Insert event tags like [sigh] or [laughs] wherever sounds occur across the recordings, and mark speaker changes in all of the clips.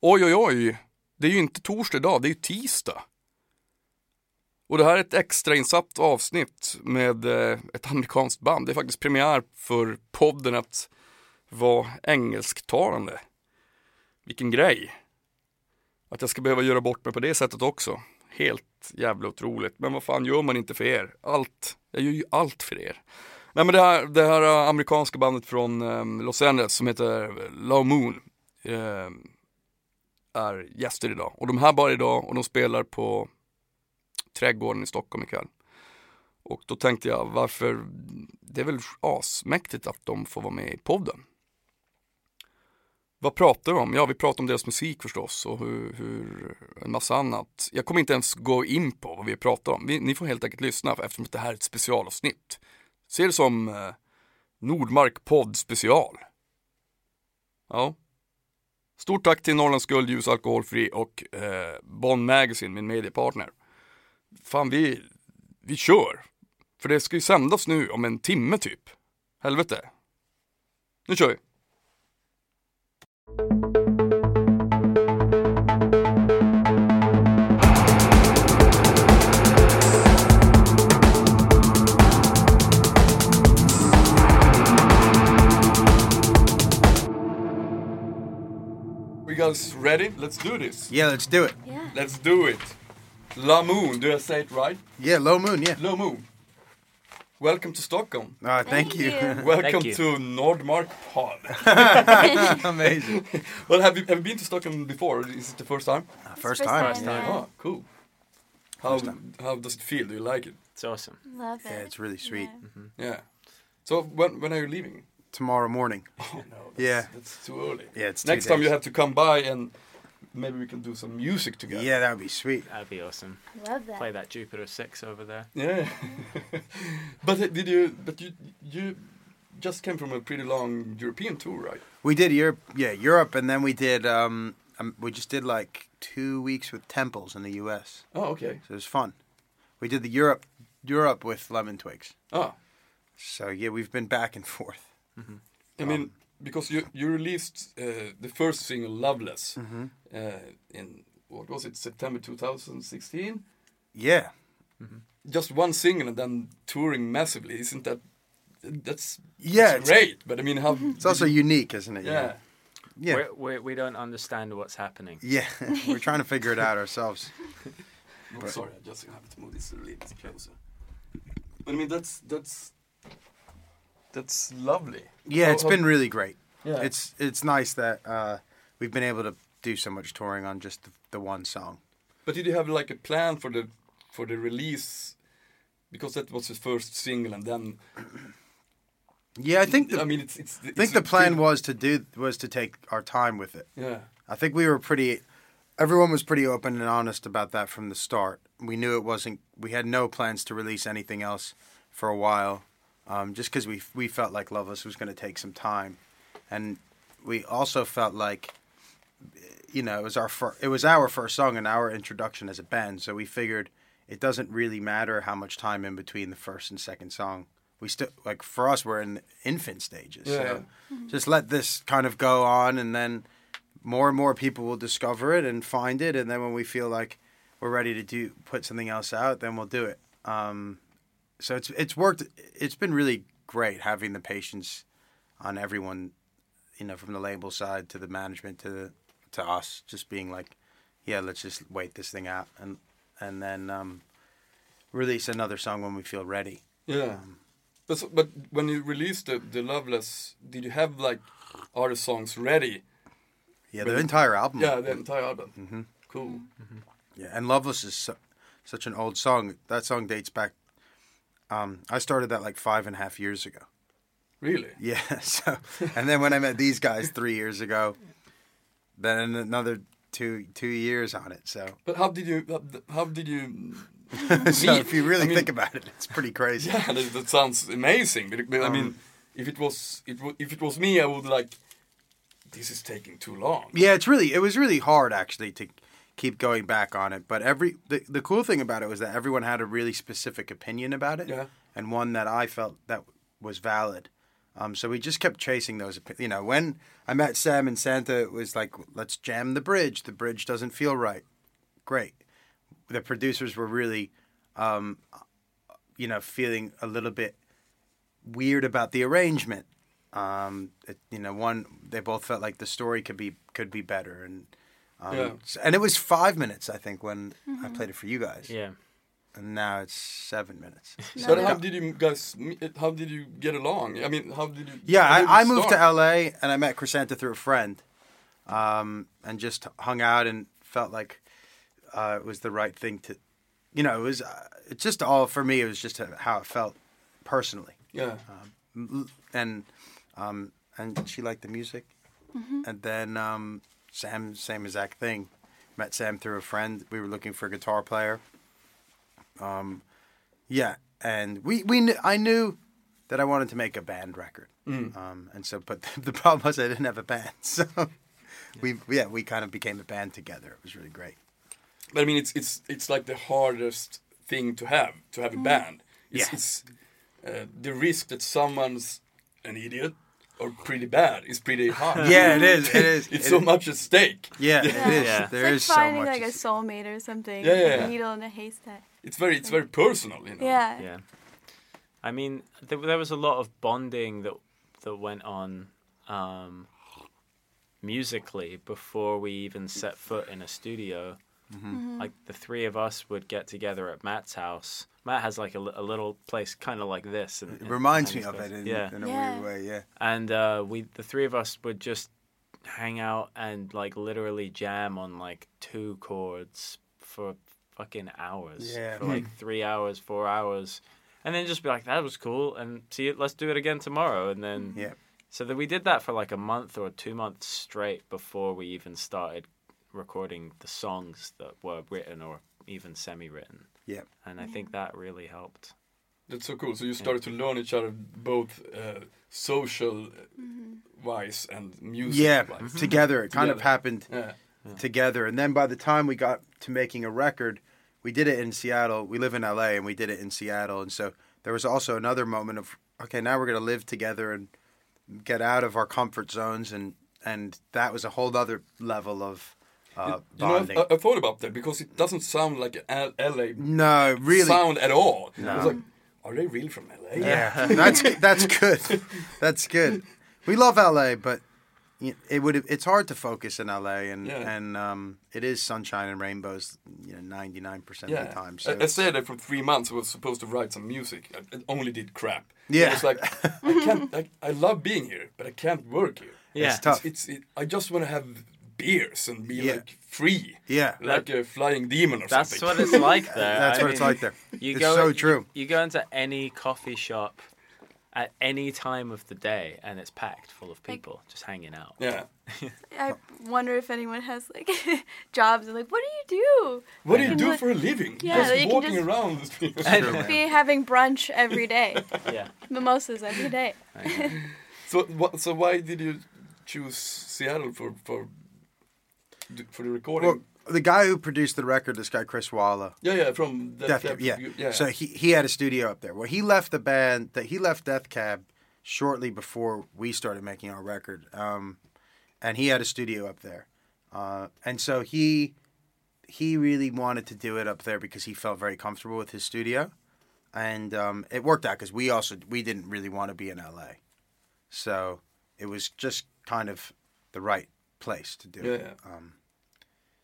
Speaker 1: Oj, oj, oj. Det är ju inte torsdag idag, det är ju tisdag. Och det här är ett extrainsatt avsnitt med eh, ett amerikanskt band. Det är faktiskt premiär för podden att vara engelsktalande. Vilken grej! Att jag ska behöva göra bort mig på det sättet också. Helt jävla otroligt. Men vad fan gör man inte för er? Allt. Jag gör ju allt för er. Nej men det här, det här eh, amerikanska bandet från eh, Los Angeles som heter Low Moon. Eh, är gäster idag. Och de här bara idag och de spelar på Trädgården i Stockholm ikväll. Och då tänkte jag varför, det är väl asmäktigt att de får vara med i podden. Vad pratar vi om? Ja, vi pratar om deras musik förstås och hur, hur en massa annat. Jag kommer inte ens gå in på vad vi pratar om. Vi, ni får helt enkelt lyssna för eftersom det här är ett specialavsnitt. Se det som eh, Nordmark podd special. Ja. Stort tack till Norrlands Guld, Ljus Alkoholfri och eh, Bonn Magazine, min mediepartner. Fan, vi, vi kör! För det ska ju sändas nu om en timme typ. Helvete. Nu kör vi! We guys ready? Let's do this!
Speaker 2: Yeah, let's do it.
Speaker 3: Yeah.
Speaker 1: Let's do it! La Moon, do I say it right?
Speaker 2: Yeah, low moon. Yeah.
Speaker 1: La Moon. Welcome to Stockholm.
Speaker 2: Ah, thank,
Speaker 3: Thank
Speaker 2: [laughs] you.
Speaker 3: you.
Speaker 1: Welcome
Speaker 4: you.
Speaker 1: to Nordmark Pod.
Speaker 2: Amazing.
Speaker 1: well, have you, have you been to Stockholm before? Is it the first time?
Speaker 2: First
Speaker 3: first
Speaker 2: time.
Speaker 3: time, yeah.
Speaker 1: Oh, cool. How, how does it feel? Do you like it?
Speaker 4: It's awesome.
Speaker 3: Love it.
Speaker 2: Yeah, it's really sweet.
Speaker 1: Yeah. So when when are you leaving?
Speaker 2: Tomorrow morning.
Speaker 1: Oh no. [laughs] That's,
Speaker 2: Yeah.
Speaker 1: That's too early.
Speaker 2: Yeah, it's two
Speaker 1: Next time you
Speaker 2: days.
Speaker 1: have to come by and maybe we can do some music together.
Speaker 2: Yeah, that would be sweet.
Speaker 4: That'd be awesome.
Speaker 2: Mm-hmm.
Speaker 3: Love that.
Speaker 4: Play that Jupiter 6 over there.
Speaker 1: Yeah. [laughs] but uh, did you? But you you just came from a pretty long European tour, right?
Speaker 2: We did Europe. Yeah, Europe, and then we did. Um, um, we just did like two weeks with temples in the U.S.
Speaker 1: Oh, okay.
Speaker 2: So it was fun. We did the Europe, Europe with lemon twigs.
Speaker 1: Ah,
Speaker 2: So yeah, we've been back and forth.
Speaker 1: I
Speaker 2: Um,
Speaker 1: mean, because you you released uh, the first single "Loveless"
Speaker 2: Mm. Mm-hmm.
Speaker 1: uh, in what was it September 2016?
Speaker 2: Yeah,
Speaker 1: Just one single and then touring massively. Isn't that that's
Speaker 2: Yeah,
Speaker 1: that's
Speaker 2: it's-
Speaker 1: great? But I mean,
Speaker 2: [laughs]
Speaker 1: how
Speaker 2: it's also unique, isn't it?
Speaker 1: yeah.
Speaker 2: Yeah.
Speaker 4: We're, we're, we don't understand what's happening.
Speaker 2: [laughs] Yeah, we're trying to figure it out
Speaker 1: [laughs]
Speaker 2: ourselves.
Speaker 1: Oh, sorry, I just have to move this a little bit closer. But I mean, that's that's that's lovely.
Speaker 2: Yeah,
Speaker 1: How-
Speaker 2: it's
Speaker 1: how-
Speaker 2: been really great.
Speaker 1: Yeah.
Speaker 2: It's it's nice that uh, we've been able to do so much touring on just the, the one song.
Speaker 1: But did you have like a plan for the for the release? Because that was the first single, and then
Speaker 2: Yeah, I think the,
Speaker 1: I mean, it's it's.
Speaker 2: I think the plan was to do was to take our time with it.
Speaker 1: Yeah.
Speaker 2: I think we were pretty everyone was pretty open and honest about that from the start. We knew it wasn't we had no plans to release anything else for a while. Um, just cuz we we felt like Loveless was going to take some time. And we also felt like you know, it was our fir- it was our first song and our introduction as a band, so we figured it doesn't really matter how much time in between the first and second song. We still like for us we're in infant stages.
Speaker 1: Yeah.
Speaker 2: So just let this kind of go on and then more and more people will discover it and find it and then when we feel like we're ready to do put something else out, then we'll do it. Um, so it's it's worked it's been really great having the patience on everyone you know, from the label side to the management to the, to us, just being like, yeah, let's just wait this thing out and and then um, release another song when we feel ready.
Speaker 1: Yeah. but so, but when you released the the Loveless, did you have like other songs ready?
Speaker 2: Yeah, the entire album.
Speaker 1: Yeah, the entire album. Mm-hmm. Cool.
Speaker 2: Yeah, and Loveless is su- such an old song. That song dates back. Um, I started that like five and a half years ago. [laughs]
Speaker 1: Really?
Speaker 2: Yeah. So, and then when I met these guys three years ago, then another two two years on it. So,
Speaker 1: But how did you how- how did you?
Speaker 2: so if you really
Speaker 1: I mean-
Speaker 2: think about it, it's pretty crazy.
Speaker 1: [laughs] Yeah, that, that sounds amazing. But, but I
Speaker 2: Um,
Speaker 1: mean, if it was it wa- if it was me, I would like. This is taking too long.
Speaker 2: Yeah, it's really it was really hard actually to keep going back on it. But every the, the cool thing about it was that everyone had a really specific opinion about it,
Speaker 1: Yeah.
Speaker 2: and one that I felt that was valid. Um, so we just kept chasing those. opi- You know, when I met Sam and Santa, it was like, let's jam the bridge. The bridge doesn't feel right. Great. The producers were really, um, you know, feeling a little bit weird about the arrangement. Um, it, you know, one they both felt like the story could be could be better, and um,
Speaker 1: Yeah.
Speaker 2: s- and it was five minutes I think when I played it for you guys,
Speaker 4: Yeah.
Speaker 2: and now it's seven minutes.
Speaker 1: So how did you guys? meet- How did you get along? I mean, how did you?
Speaker 2: Yeah,
Speaker 1: how did
Speaker 2: I, I
Speaker 1: it
Speaker 2: moved to
Speaker 1: start?
Speaker 2: LA and I met Crescenta through a friend, um, and just hung out and felt like uh, it was the right thing to, you know, it was uh, it's just all for me. It was just how it felt personally,
Speaker 1: Yeah,
Speaker 2: Uh, and um, and she liked the music,
Speaker 3: Mm-hmm.
Speaker 2: and then um, Sam same exact thing. Met Sam through a friend. We were looking for a guitar player. Um, yeah, and we we kn- I knew that I wanted to make a band record. Um, and so, but [laughs] the, problem was I didn't have a band, [laughs] so we yeah we kind of became a band together. It was really great.
Speaker 1: but I mean, it's it's it's like the hardest thing to have to have a band. It's,
Speaker 2: Yeah.
Speaker 1: it's uh, the risk that someone's an idiot or pretty bad is pretty high.
Speaker 2: [laughs] Yeah, it is. It is.
Speaker 1: [laughs] it's
Speaker 2: It
Speaker 1: so
Speaker 2: is.
Speaker 1: much at stake.
Speaker 2: Yeah, it is.
Speaker 4: Yeah.
Speaker 2: There
Speaker 3: it's
Speaker 2: is so
Speaker 3: like finding
Speaker 2: much.
Speaker 3: like a soulmate or something.
Speaker 1: Yeah,
Speaker 3: like
Speaker 1: yeah, Oh, yeah.
Speaker 3: A needle in a haystack.
Speaker 1: It's very it's very personal, you know.
Speaker 3: Yeah.
Speaker 4: Yeah. I mean, there, there was a lot of bonding that that went on um, musically before we even set foot in a studio.
Speaker 2: Mm-hmm.
Speaker 4: Like the three of us would get together at Matt's house. Matt has like a, li- a little place kind of like this. And,
Speaker 2: it reminds me of it in,
Speaker 4: yeah.
Speaker 2: in a
Speaker 3: Yeah.
Speaker 2: weird way. Yeah.
Speaker 4: and uh, we the three of us would just hang out and like literally jam on like two chords for fucking hours
Speaker 2: Yeah.
Speaker 4: for like three hours four hours and then just be like that was cool and see it let's do it again tomorrow and then
Speaker 2: Yeah.
Speaker 4: so that we did that for like a month or two months straight before we even started recording the songs that were written or even semi-written
Speaker 2: Yeah.
Speaker 4: and i think that really helped
Speaker 1: That's so cool. So you started to learn each other both uh, social uh, wise and music
Speaker 2: Yeah. Mm-hmm.
Speaker 1: wise.
Speaker 2: Together, it kind of
Speaker 1: Together.
Speaker 2: happened
Speaker 1: Yeah.
Speaker 2: together. And then by the time we got to making a record, we did it in Seattle. We live in LA and we did it in Seattle. And so there was also another moment of, okay, now we're going to live together and get out of our comfort zones. And, and that was a whole other level of uh,
Speaker 1: You know,
Speaker 2: bonding.
Speaker 1: I, I thought about that because it doesn't sound like an L- LA
Speaker 2: no, really.
Speaker 1: sound at all. I was like, are they really from LA?
Speaker 2: yeah. [laughs] that's, that's good. That's good. We love LA, but y- it would it's hard to focus in LA and
Speaker 1: Yeah.
Speaker 2: and um, it is sunshine and rainbows you know 99% of the
Speaker 1: Yeah.
Speaker 2: time so
Speaker 1: I, I stayed there for three months. I was supposed to write some music. I, I only did crap.
Speaker 2: Yeah.
Speaker 1: I was like, I can't. I, I love being here, but I can't work here.
Speaker 4: yeah
Speaker 2: it's tough
Speaker 1: It's. It, I just want to have beers and be
Speaker 2: Yeah.
Speaker 1: like free. [laughs]
Speaker 2: Yeah.
Speaker 1: Like a flying demon or
Speaker 4: that's
Speaker 1: something.
Speaker 4: what it's like there
Speaker 2: That's
Speaker 4: I
Speaker 2: what it's
Speaker 4: mean-
Speaker 2: like there.
Speaker 4: You
Speaker 2: it's
Speaker 4: go
Speaker 2: so
Speaker 4: you- [laughs]
Speaker 2: true.
Speaker 4: You, go into any coffee shop at any time of the day and it's packed full of people just hanging out.
Speaker 1: [laughs] yeah.
Speaker 3: I
Speaker 2: Oh.
Speaker 3: wonder if anyone has like [laughs] jobs. and Like, what do you
Speaker 1: What
Speaker 3: You
Speaker 1: do you
Speaker 3: can
Speaker 1: do
Speaker 3: look-
Speaker 1: for a living?
Speaker 3: Yeah,
Speaker 1: just
Speaker 3: you can
Speaker 1: walking
Speaker 3: just-
Speaker 1: around the street.
Speaker 2: [laughs] True,
Speaker 3: do?
Speaker 2: man.
Speaker 3: Be having brunch every day,
Speaker 4: Yeah.
Speaker 3: mimosas every day.
Speaker 1: so, what, so why did you choose Seattle for for for the recording?
Speaker 2: Well, the guy who produced the record, this guy Chris Walla,
Speaker 1: yeah, yeah, from Def,
Speaker 2: Death,
Speaker 1: Def-
Speaker 2: Cab, yeah.
Speaker 1: you- yeah.
Speaker 2: So he he had a studio up there. Well, he left the band that he left Death Cab shortly before we started making our record, um, and he had a studio up there, uh, and so he he really wanted to do it up there because he felt very comfortable with his studio, and um, it worked out because we also we didn't really want to be in L.A., so it was just kind of the right place to do it.
Speaker 1: Yeah,
Speaker 2: Um,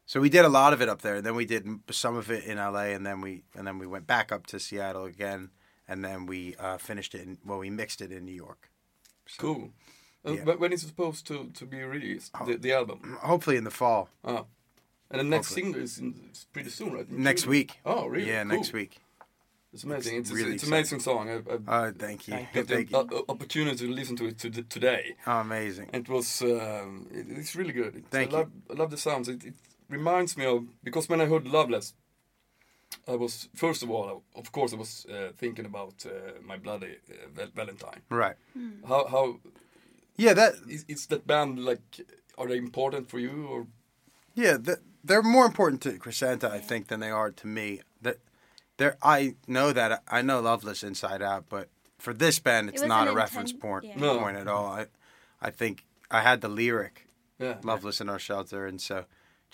Speaker 2: so we did a lot of it up there. Then we did m- some of it in LA, and then we and then we went back up to Seattle again, and then we uh, finished it. In, well, we mixed it in New York.
Speaker 1: cool. Uh,
Speaker 2: Yeah. Oh.
Speaker 1: But when is it supposed to, to be released? The, the album.
Speaker 2: Hopefully in the fall
Speaker 1: Ah. And the next
Speaker 2: Hopefully.
Speaker 1: single is in, it's pretty soon, right? In
Speaker 2: next
Speaker 1: June.
Speaker 2: week.
Speaker 1: Oh, really?
Speaker 2: Yeah,
Speaker 1: Cool.
Speaker 2: next week.
Speaker 1: It's amazing. It's,
Speaker 2: really
Speaker 1: it's, an amazing song. I, I
Speaker 2: Oh, thank you.
Speaker 1: had
Speaker 2: Thank,
Speaker 1: the
Speaker 2: you.
Speaker 1: o- o- opportunity to listen to it to today.
Speaker 2: Oh, amazing.
Speaker 1: It was um, it, it's really good. It's,
Speaker 2: Thank
Speaker 1: I
Speaker 2: you.
Speaker 1: love, I love the sounds. It, it reminds me of because when I heard Loveless, I was first of all, of course, I was uh, thinking about uh, my bloody uh, Val- Valentine.
Speaker 2: Right.
Speaker 1: How how
Speaker 2: Yeah. That.
Speaker 1: is, is that band like? Are they important for you or?
Speaker 2: Yeah. That, they're more important to Crescenta, I think, than they are to me. That. They're, I know that I know Loveless inside out, but for this band, it's
Speaker 3: wasn't
Speaker 2: not a
Speaker 3: inten-
Speaker 2: reference point,
Speaker 3: yeah.
Speaker 1: No.
Speaker 2: point at all. I, I think I had the lyric
Speaker 1: Yeah.
Speaker 2: "Loveless in Our Shelter," and so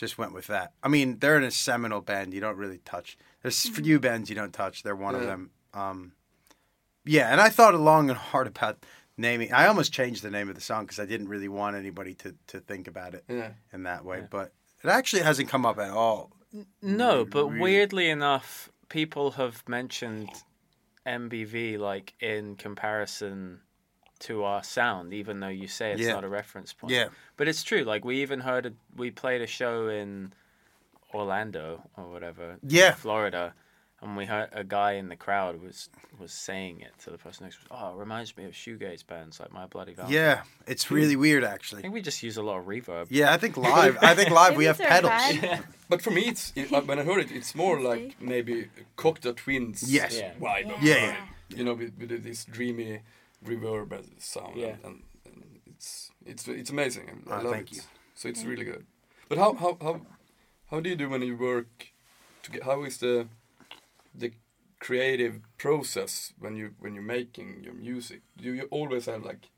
Speaker 2: just went with that. I mean, they're in a seminal band. You don't really touch. There's few bands you don't touch. They're one of
Speaker 1: Mm-hmm. Yeah.
Speaker 2: them. Um, yeah, and I thought long and hard about naming. I almost changed the name of the song because I didn't really want anybody to to think about it
Speaker 1: Yeah.
Speaker 2: in that way. But it actually hasn't come up at all.
Speaker 4: No, but
Speaker 2: really-
Speaker 4: weirdly enough, people have mentioned MBV like in comparison to our sound, even though you say it's
Speaker 2: Yeah.
Speaker 4: not a reference point.
Speaker 2: Yeah.
Speaker 4: but it's true. Like we even heard a, we played a show in Orlando or whatever, in
Speaker 2: Yeah.
Speaker 4: Florida, and we heard a guy in the crowd was was saying it to the person next. to us, Oh, it reminds me of shoegaze bands like My Bloody
Speaker 1: Oh.
Speaker 4: Valentine.
Speaker 2: Yeah,
Speaker 1: Hmm.
Speaker 2: it's really weird
Speaker 4: I
Speaker 2: actually.
Speaker 4: think we just use a lot of reverb.
Speaker 2: Yeah, I think live.
Speaker 1: [laughs]
Speaker 2: I think live we
Speaker 3: Maybe
Speaker 2: have
Speaker 3: they're
Speaker 2: pedals.
Speaker 3: bad.
Speaker 1: But for me, it's it, uh, when I heard it, it's more like maybe Cocktail Twins
Speaker 2: Yes.
Speaker 4: Yeah.
Speaker 1: vibe. of
Speaker 2: Yeah,
Speaker 1: it.
Speaker 2: yeah.
Speaker 1: You know, with, with this dreamy reverb as a sound.
Speaker 4: Yeah.
Speaker 1: And, and it's it's it's amazing. I, I
Speaker 2: Ah,
Speaker 1: love
Speaker 2: thank
Speaker 1: it.
Speaker 2: you.
Speaker 1: So it's really good. But how how how how do you do when you work? To get, how is the the creative process when you when you're making your music? Do you always have like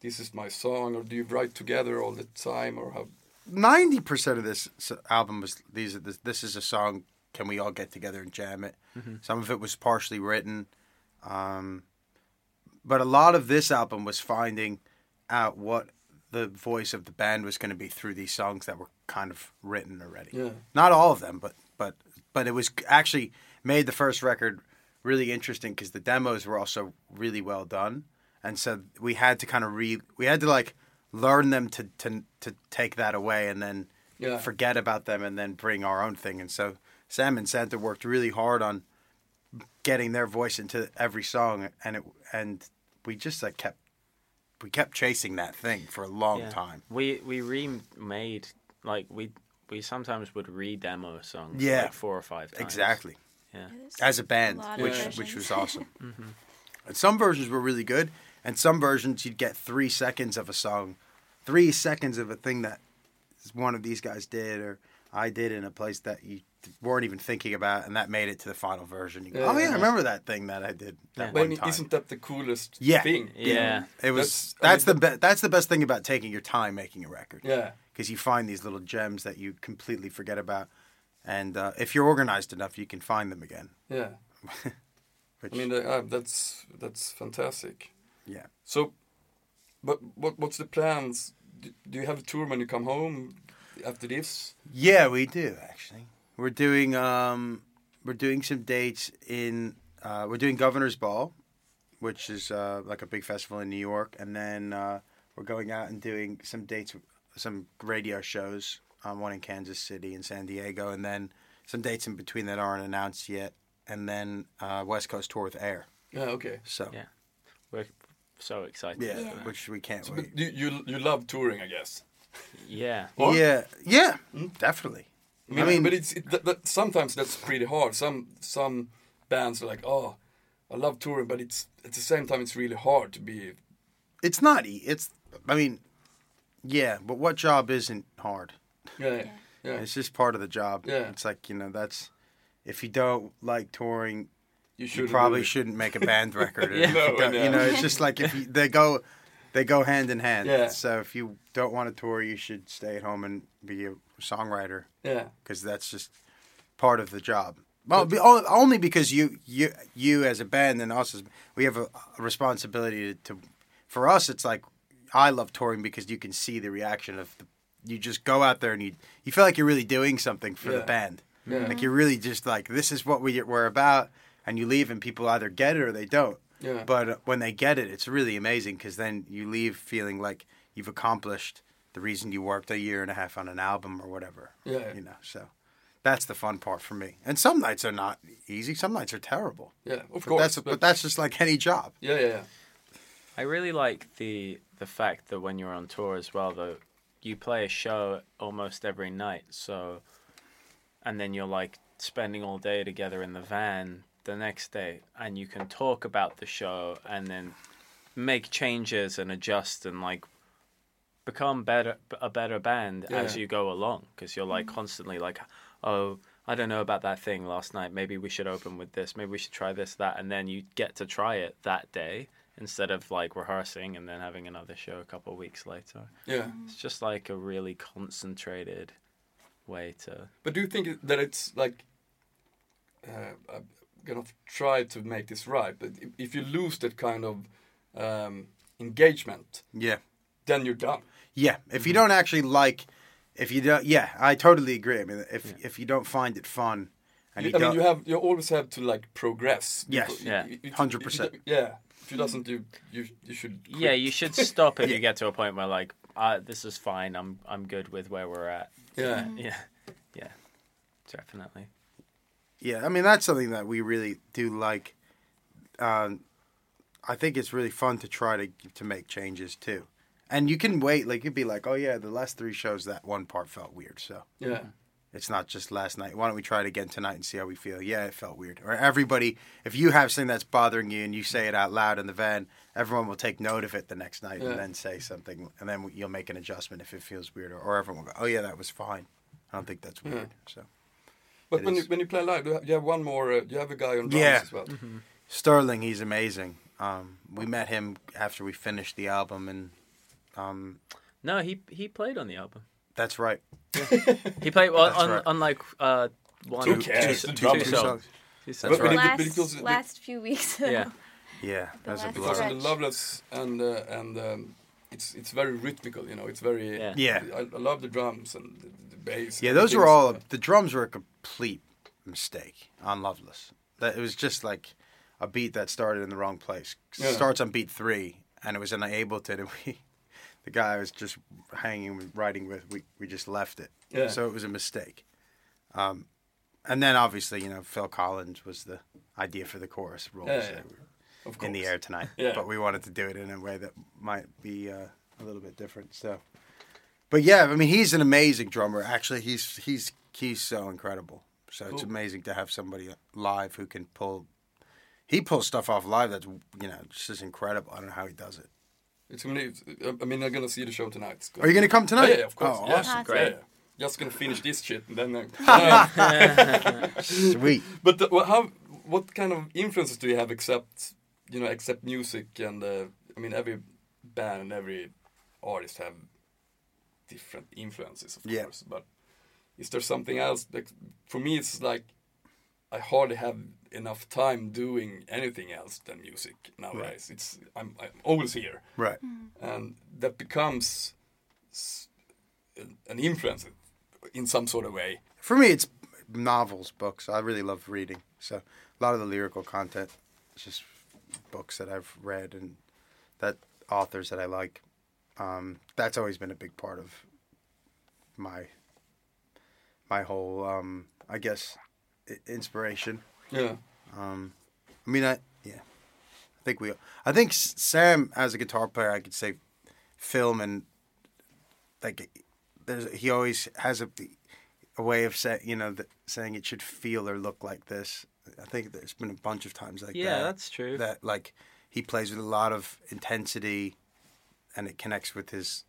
Speaker 1: this is my song, or do you write together all the time, or how?
Speaker 2: ninety percent of this s- album was these. are the- This is a song. Can we all get together and jam it? Some of it was partially written, um, but a lot of this album was finding out what the voice of the band was going to be through these songs that were kind of written already.
Speaker 1: Yeah.
Speaker 2: Not all of them, but but but it was actually made the first record really interesting because the demos were also really well done, and so we had to kind of re we had to like learn them to to to take that away and then
Speaker 1: Yeah.
Speaker 2: forget about them and then bring our own thing. And so Sam and Santa worked really hard on getting their voice into every song, and it and we just like kept we kept chasing that thing for a long
Speaker 4: Yeah.
Speaker 2: time.
Speaker 4: We we remade like we we sometimes would re-demo songs
Speaker 2: Yeah.
Speaker 4: like four or five times.
Speaker 2: Exactly.
Speaker 4: Yeah.
Speaker 2: as a band,
Speaker 3: lot of
Speaker 2: which
Speaker 1: versions.
Speaker 2: which
Speaker 1: [laughs]
Speaker 2: was awesome.
Speaker 1: Mm-hmm.
Speaker 2: And some versions were really good, and some versions you'd get three seconds of a song, three seconds of a thing that one of these guys did or I did in a place that you weren't even thinking about, and that made it to the final version. You go,
Speaker 1: Yeah.
Speaker 2: oh yeah, I remember that thing that I did that
Speaker 4: Yeah.
Speaker 2: one
Speaker 1: When
Speaker 2: time.
Speaker 1: isn't that the coolest
Speaker 2: Yeah.
Speaker 1: thing?
Speaker 4: Yeah.
Speaker 2: it was
Speaker 1: That's-
Speaker 2: that's,
Speaker 1: I mean,
Speaker 2: the be- that's the best thing about taking your time making a record
Speaker 1: Yeah.
Speaker 2: because you find these little gems that you completely forget about, and uh, if you're organized enough, you can find them again.
Speaker 1: Yeah,
Speaker 2: Which,
Speaker 1: I mean uh, uh, that's that's fantastic.
Speaker 2: yeah.
Speaker 1: So, but what what's the plans? Do, do you have a tour when you come home after this?
Speaker 2: Yeah, we do actually. We're doing um, we're doing some dates in uh, we're doing Governor's Ball, which is uh, like a big festival in New York, and then uh, we're going out and doing some dates, some radio shows. Um, one in Kansas City and San Diego, and then some dates in between that aren't announced yet, and then uh, West Coast tour with Air.
Speaker 1: Yeah, okay.
Speaker 2: So
Speaker 4: Yeah. We're so excited.
Speaker 2: yeah,
Speaker 4: for that.
Speaker 2: which we can't
Speaker 1: So,
Speaker 2: wait.
Speaker 1: but you, you you love touring, I guess.
Speaker 4: Yeah.
Speaker 1: Or-
Speaker 2: Yeah, yeah, definitely.
Speaker 1: I mean, but it's it, that, that, sometimes that's pretty hard. Some some bands are like, oh, I love touring, but it's at the same time it's really hard to be.
Speaker 2: It's not. e- It's. I mean, yeah, but what job isn't hard?
Speaker 1: Yeah, yeah.
Speaker 2: It's just part of the job.
Speaker 1: Yeah.
Speaker 2: It's like you know that's if you don't like touring,
Speaker 1: You
Speaker 2: you
Speaker 1: should
Speaker 2: probably shouldn't make
Speaker 1: [laughs]
Speaker 2: a band record.
Speaker 4: Yeah.
Speaker 2: If you,
Speaker 1: No,
Speaker 2: don't-
Speaker 1: no.
Speaker 2: you know, it's just like if you, they go, they go hand in hand.
Speaker 1: Yeah.
Speaker 2: So if you don't want to tour, you should stay at home and be a songwriter
Speaker 1: Yeah,
Speaker 2: because that's just part of the job. Well, be, o- only because you, you, you as a band and us, as, we have a, a responsibility to, to. For us, it's like I love touring because you can see the reaction of the. You just go out there and you you feel like you're really doing something for
Speaker 1: Yeah.
Speaker 2: the band.
Speaker 1: Yeah.
Speaker 2: Like you're really just like this is what we we're about, and you leave and people either get it or they don't.
Speaker 1: Yeah.
Speaker 2: But uh, when they get it, it's really amazing because then you leave feeling like you've accomplished the reason you worked a year and a half on an album or whatever.
Speaker 1: Yeah.
Speaker 2: You know, so that's the fun part for me. And some nights are not easy. Some nights are terrible.
Speaker 1: yeah. Of
Speaker 2: But
Speaker 1: course.
Speaker 2: that's but that's just like any job.
Speaker 1: yeah, yeah, yeah.
Speaker 4: I really like the the fact that when you're on tour as well though, you play a show almost every night, so and then you're like spending all day together in the van the next day and you can talk about the show and then make changes and adjust and like become better a better band as
Speaker 1: Yeah.
Speaker 4: you go along because you're like constantly like oh I don't know about that thing last night. Maybe we should open with this. Maybe we should try this, that, and then you get to try it that day instead of like rehearsing and then having another show a couple of weeks later.
Speaker 1: Yeah.
Speaker 4: It's just like a really concentrated way to.
Speaker 1: But do you think that it's like uh, I'm gonna try to make this right? But if- if you lose that kind of um, engagement,
Speaker 2: Yeah.
Speaker 1: then you're done.
Speaker 2: Yeah, if you
Speaker 1: Mm-hmm.
Speaker 2: don't actually like, if you don't, yeah, I totally agree. I mean, if if you don't find it fun, and
Speaker 1: You-
Speaker 2: you,
Speaker 1: I mean,
Speaker 2: don't,
Speaker 1: you have you always have to like progress. You
Speaker 2: Yes.
Speaker 1: co- you-
Speaker 4: Yeah.
Speaker 1: you- if- if you
Speaker 2: 100%.
Speaker 1: do- Yeah. If you doesn't, you you you should. Quit.
Speaker 4: Yeah, you should stop if
Speaker 2: Yeah.
Speaker 4: you get to a point where like, uh, this is fine. I'm I'm good with where we're at.
Speaker 1: Yeah.
Speaker 4: Yeah, yeah, definitely.
Speaker 2: yeah, I mean that's something that we really do like. Um, I think it's really fun to try to to make changes too, and you can wait. Like you'd be like, oh yeah, the last three shows that one part felt weird, so
Speaker 1: Yeah.
Speaker 2: It's not just last night. Why don't we try it again tonight and see how we feel? Yeah, it felt weird. Or everybody, if you have something that's bothering you and you say it out loud in the van, everyone will take note of it the next night
Speaker 1: Yeah.
Speaker 2: and then say something, and then you'll make an adjustment if it feels weird. Or, or everyone will go, "Oh yeah, that was fine. I don't think that's weird." So
Speaker 1: But
Speaker 2: It
Speaker 1: when
Speaker 2: is.
Speaker 1: you when you play live, you have, you have one more. Uh, you have a guy on drums
Speaker 2: Yeah. Mm-hmm.
Speaker 1: as well.
Speaker 2: Sterling, he's amazing. Um, we met him after we finished the album, and um,
Speaker 4: No, he he played on the album.
Speaker 2: that's right.
Speaker 4: He played well,
Speaker 2: That's
Speaker 4: on
Speaker 2: right.
Speaker 4: on like uh, one
Speaker 1: Who cares?
Speaker 4: two-
Speaker 1: The
Speaker 4: two
Speaker 1: drummer.
Speaker 4: songs.
Speaker 2: songs.
Speaker 4: Two songs.
Speaker 2: That's right.
Speaker 1: But it-
Speaker 3: last,
Speaker 1: but it goes-
Speaker 3: last few weeks. [laughs] though.
Speaker 4: Yeah.
Speaker 2: Yeah, that was a
Speaker 1: Because
Speaker 3: last
Speaker 2: blur.
Speaker 3: track.
Speaker 1: on the Loveless and uh, and um, it's it's very rhythmical. You know, it's very.
Speaker 4: Yeah.
Speaker 2: Yeah.
Speaker 1: I, I love the drums and the, the bass.
Speaker 2: Yeah,
Speaker 1: and
Speaker 2: those were
Speaker 1: things.
Speaker 2: all the drums were a complete mistake on Loveless. That it was just like a beat that started in the wrong place.
Speaker 1: Yeah.
Speaker 2: Starts on beat three, and it was in Ableton, [laughs] and we, the guy I was just hanging with, writing with, we we just left it.
Speaker 1: Yeah.
Speaker 2: So it was a mistake. Um, and then obviously you know Phil Collins was the idea for the chorus rules
Speaker 1: Yeah, yeah,
Speaker 2: that were
Speaker 1: Of
Speaker 2: in the
Speaker 1: course.
Speaker 2: air tonight,
Speaker 1: Yeah.
Speaker 2: but we wanted to do it in a way that might be uh, a little bit different. So, but yeah, I mean, he's an amazing drummer. Actually, he's he's he's so incredible. So it's
Speaker 1: Cool.
Speaker 2: amazing to have somebody live who can pull. He pulls stuff off live that's you know just is incredible. I don't know how he does it.
Speaker 1: It's gonna. be- I mean, I'm gonna see the show tonight. It's
Speaker 2: Are you gonna come tonight?
Speaker 1: Yeah, yeah, of course.
Speaker 2: Oh,
Speaker 1: yeah.
Speaker 2: awesome.
Speaker 3: Awesome. Great.
Speaker 1: Yeah, yeah. Just gonna finish this shit and then.
Speaker 2: [laughs]
Speaker 1: Uh,
Speaker 2: Sweet.
Speaker 1: but the, well, how? What kind of influences do you have except you know except music and uh, I mean every band and every artist have different influences of
Speaker 2: Yeah.
Speaker 1: course. But is there something else? Like, for me, it's like I hardly have enough time doing anything else than music nowadays. It's I'm, I'm always here
Speaker 2: Right.
Speaker 1: and that becomes s- an an influence in some sort of way.
Speaker 2: For me, it's novels, books. I really love reading. So a lot of the lyrical content is just books that I've read and that authors that I like. Um, that's always been a big part of my my whole, um, I guess, i- inspiration.
Speaker 1: Yeah,
Speaker 2: Um, I mean, I yeah, I think we. I think S- Sam as a guitar player, I could say, film and like there's he always has a a way of say, you know th- saying it should feel or look like this. I think there's been a bunch of times like
Speaker 4: Yeah,
Speaker 2: that.
Speaker 4: that's true.
Speaker 2: That like he plays with a lot of intensity, and it connects with his.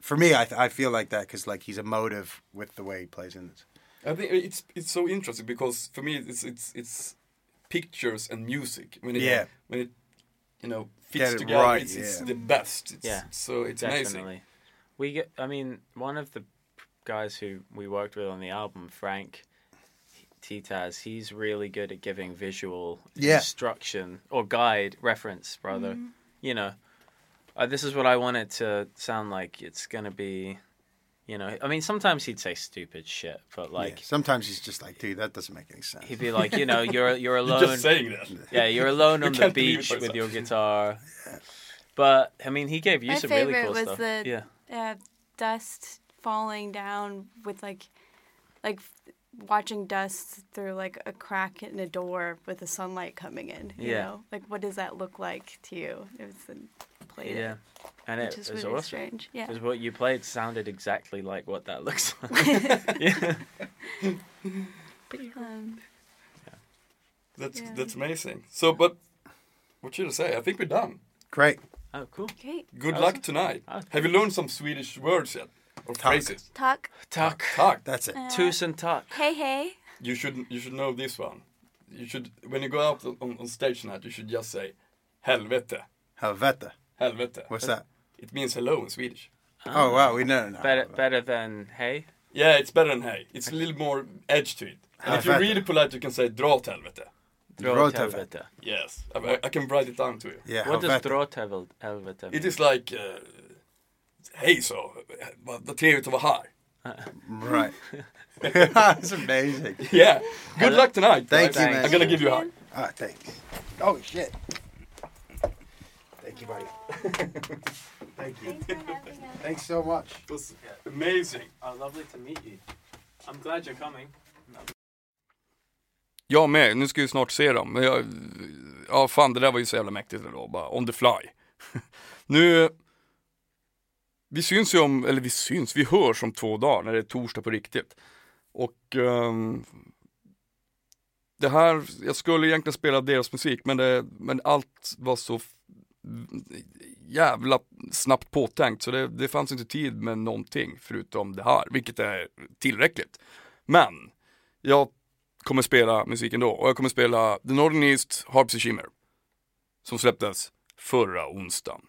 Speaker 2: For me, I th- I feel like that because like he's emotive with the way he plays in this.
Speaker 1: I think it's it's so interesting because for me it's it's it's pictures and music when it
Speaker 2: Yeah.
Speaker 1: when it you know
Speaker 2: Get
Speaker 1: fits
Speaker 2: it
Speaker 1: together
Speaker 2: right,
Speaker 1: it's, it's
Speaker 2: yeah.
Speaker 1: the best. It's,
Speaker 4: Yeah,
Speaker 1: so it's amazing.
Speaker 4: Definitely. We get. I mean, one of the guys who we worked with on the album, Frank Titaz, he's really good at giving visual
Speaker 2: Yeah.
Speaker 4: instruction or guide reference, rather.
Speaker 3: Mm-hmm.
Speaker 4: You know, uh, this is what I want it to sound like. It's gonna be. You know, I mean, sometimes he'd say stupid shit, but
Speaker 2: Like
Speaker 4: like
Speaker 2: sometimes he's just like, dude, that doesn't make any sense.
Speaker 4: he'd be like, you know, you're
Speaker 1: [laughs]
Speaker 4: you're alone.
Speaker 1: Just saying that.
Speaker 4: Yeah, you're
Speaker 1: [laughs]
Speaker 4: alone
Speaker 1: You
Speaker 4: on the
Speaker 1: can't believe it
Speaker 4: beach
Speaker 1: by
Speaker 4: with
Speaker 1: yourself.
Speaker 4: your guitar. But I mean, he gave you
Speaker 3: My
Speaker 4: some really
Speaker 3: favorite
Speaker 4: cool
Speaker 3: was
Speaker 4: stuff.
Speaker 3: the-
Speaker 4: Yeah,
Speaker 3: Uh, dust falling down with like, like watching dust through like a crack in a door with the sunlight coming in. You
Speaker 4: Yeah.
Speaker 3: Know? Like, what does that look like to you? It was played
Speaker 4: yeah,
Speaker 3: it,
Speaker 4: and
Speaker 3: which
Speaker 4: it
Speaker 3: is
Speaker 4: was
Speaker 3: really
Speaker 4: awesome.
Speaker 3: strange. Yeah.
Speaker 4: Because what you played sounded exactly like what that [laughs] looks like.
Speaker 3: [laughs]
Speaker 4: yeah.
Speaker 3: Um,
Speaker 1: That's
Speaker 3: Yeah.
Speaker 1: that's amazing. So, but what should I say? I think we're done.
Speaker 2: Great.
Speaker 4: Oh, cool.
Speaker 3: okay.
Speaker 1: Good
Speaker 4: Awesome.
Speaker 1: luck tonight.
Speaker 4: Ah.
Speaker 1: Have you learned some Swedish words yet or phrases?
Speaker 3: Talk.
Speaker 2: Talk.
Speaker 1: Tack.
Speaker 4: Eh.
Speaker 2: That's it.
Speaker 4: Tusen tuck.
Speaker 3: Hey, hey.
Speaker 1: you should you should know this one. You should when you go out on, on stage tonight, you should just say helvete,
Speaker 2: Helvete.
Speaker 1: helvete.
Speaker 2: What's that?
Speaker 1: It means hello in Swedish.
Speaker 2: Oh wow, we no no. no.
Speaker 4: Better, better than hey.
Speaker 1: Yeah, it's better than hey. It's a little more edge to it. And if you're
Speaker 2: Helvete.
Speaker 1: really polite, you can say dra åt helvete.
Speaker 4: Dra
Speaker 2: Dra
Speaker 4: åt
Speaker 2: åt helvete.
Speaker 4: helvete.
Speaker 1: Yes, I, I- I can write it down to you.
Speaker 2: Yeah.
Speaker 4: What does
Speaker 2: helvete.
Speaker 4: dra åt helvel- helvete mean?
Speaker 1: It is like, uh, hej så, vad vad trevligt att vara här.
Speaker 2: [laughs]
Speaker 1: [laughs]
Speaker 2: Right. [laughs] That's amazing.
Speaker 1: Yeah, good luck tonight.
Speaker 2: Thank
Speaker 1: guys.
Speaker 2: you, man.
Speaker 1: I'm gonna give you a hug.
Speaker 2: Ah, thanks. Oh shit. Thank you, buddy. Thank you.
Speaker 3: Thanks for having us.
Speaker 2: Thanks so much.
Speaker 1: It was amazing.
Speaker 4: Oh, lovely to meet you. I'm glad you're coming.
Speaker 1: Jag med, nu ska vi snart se dem. Men jag, ja fan det där var ju så jävla mäktigt ändå, bara on the fly. [laughs] nu, vi syns ju om, eller vi syns, vi hörs om två dagar när det är torsdag på riktigt. Och ehm, det här, jag skulle egentligen spela deras musik men, det, men allt var så f- jävla snabbt påtänkt så det, det fanns inte tid med någonting förutom det här, vilket är tillräckligt. Men, jag kommer spela musiken då och jag kommer spela The Northern East Harpsy Shimmer som släpptes förra onsdagen.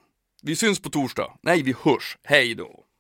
Speaker 1: Vi syns på torsdag. Nej, vi hörs. Hej då!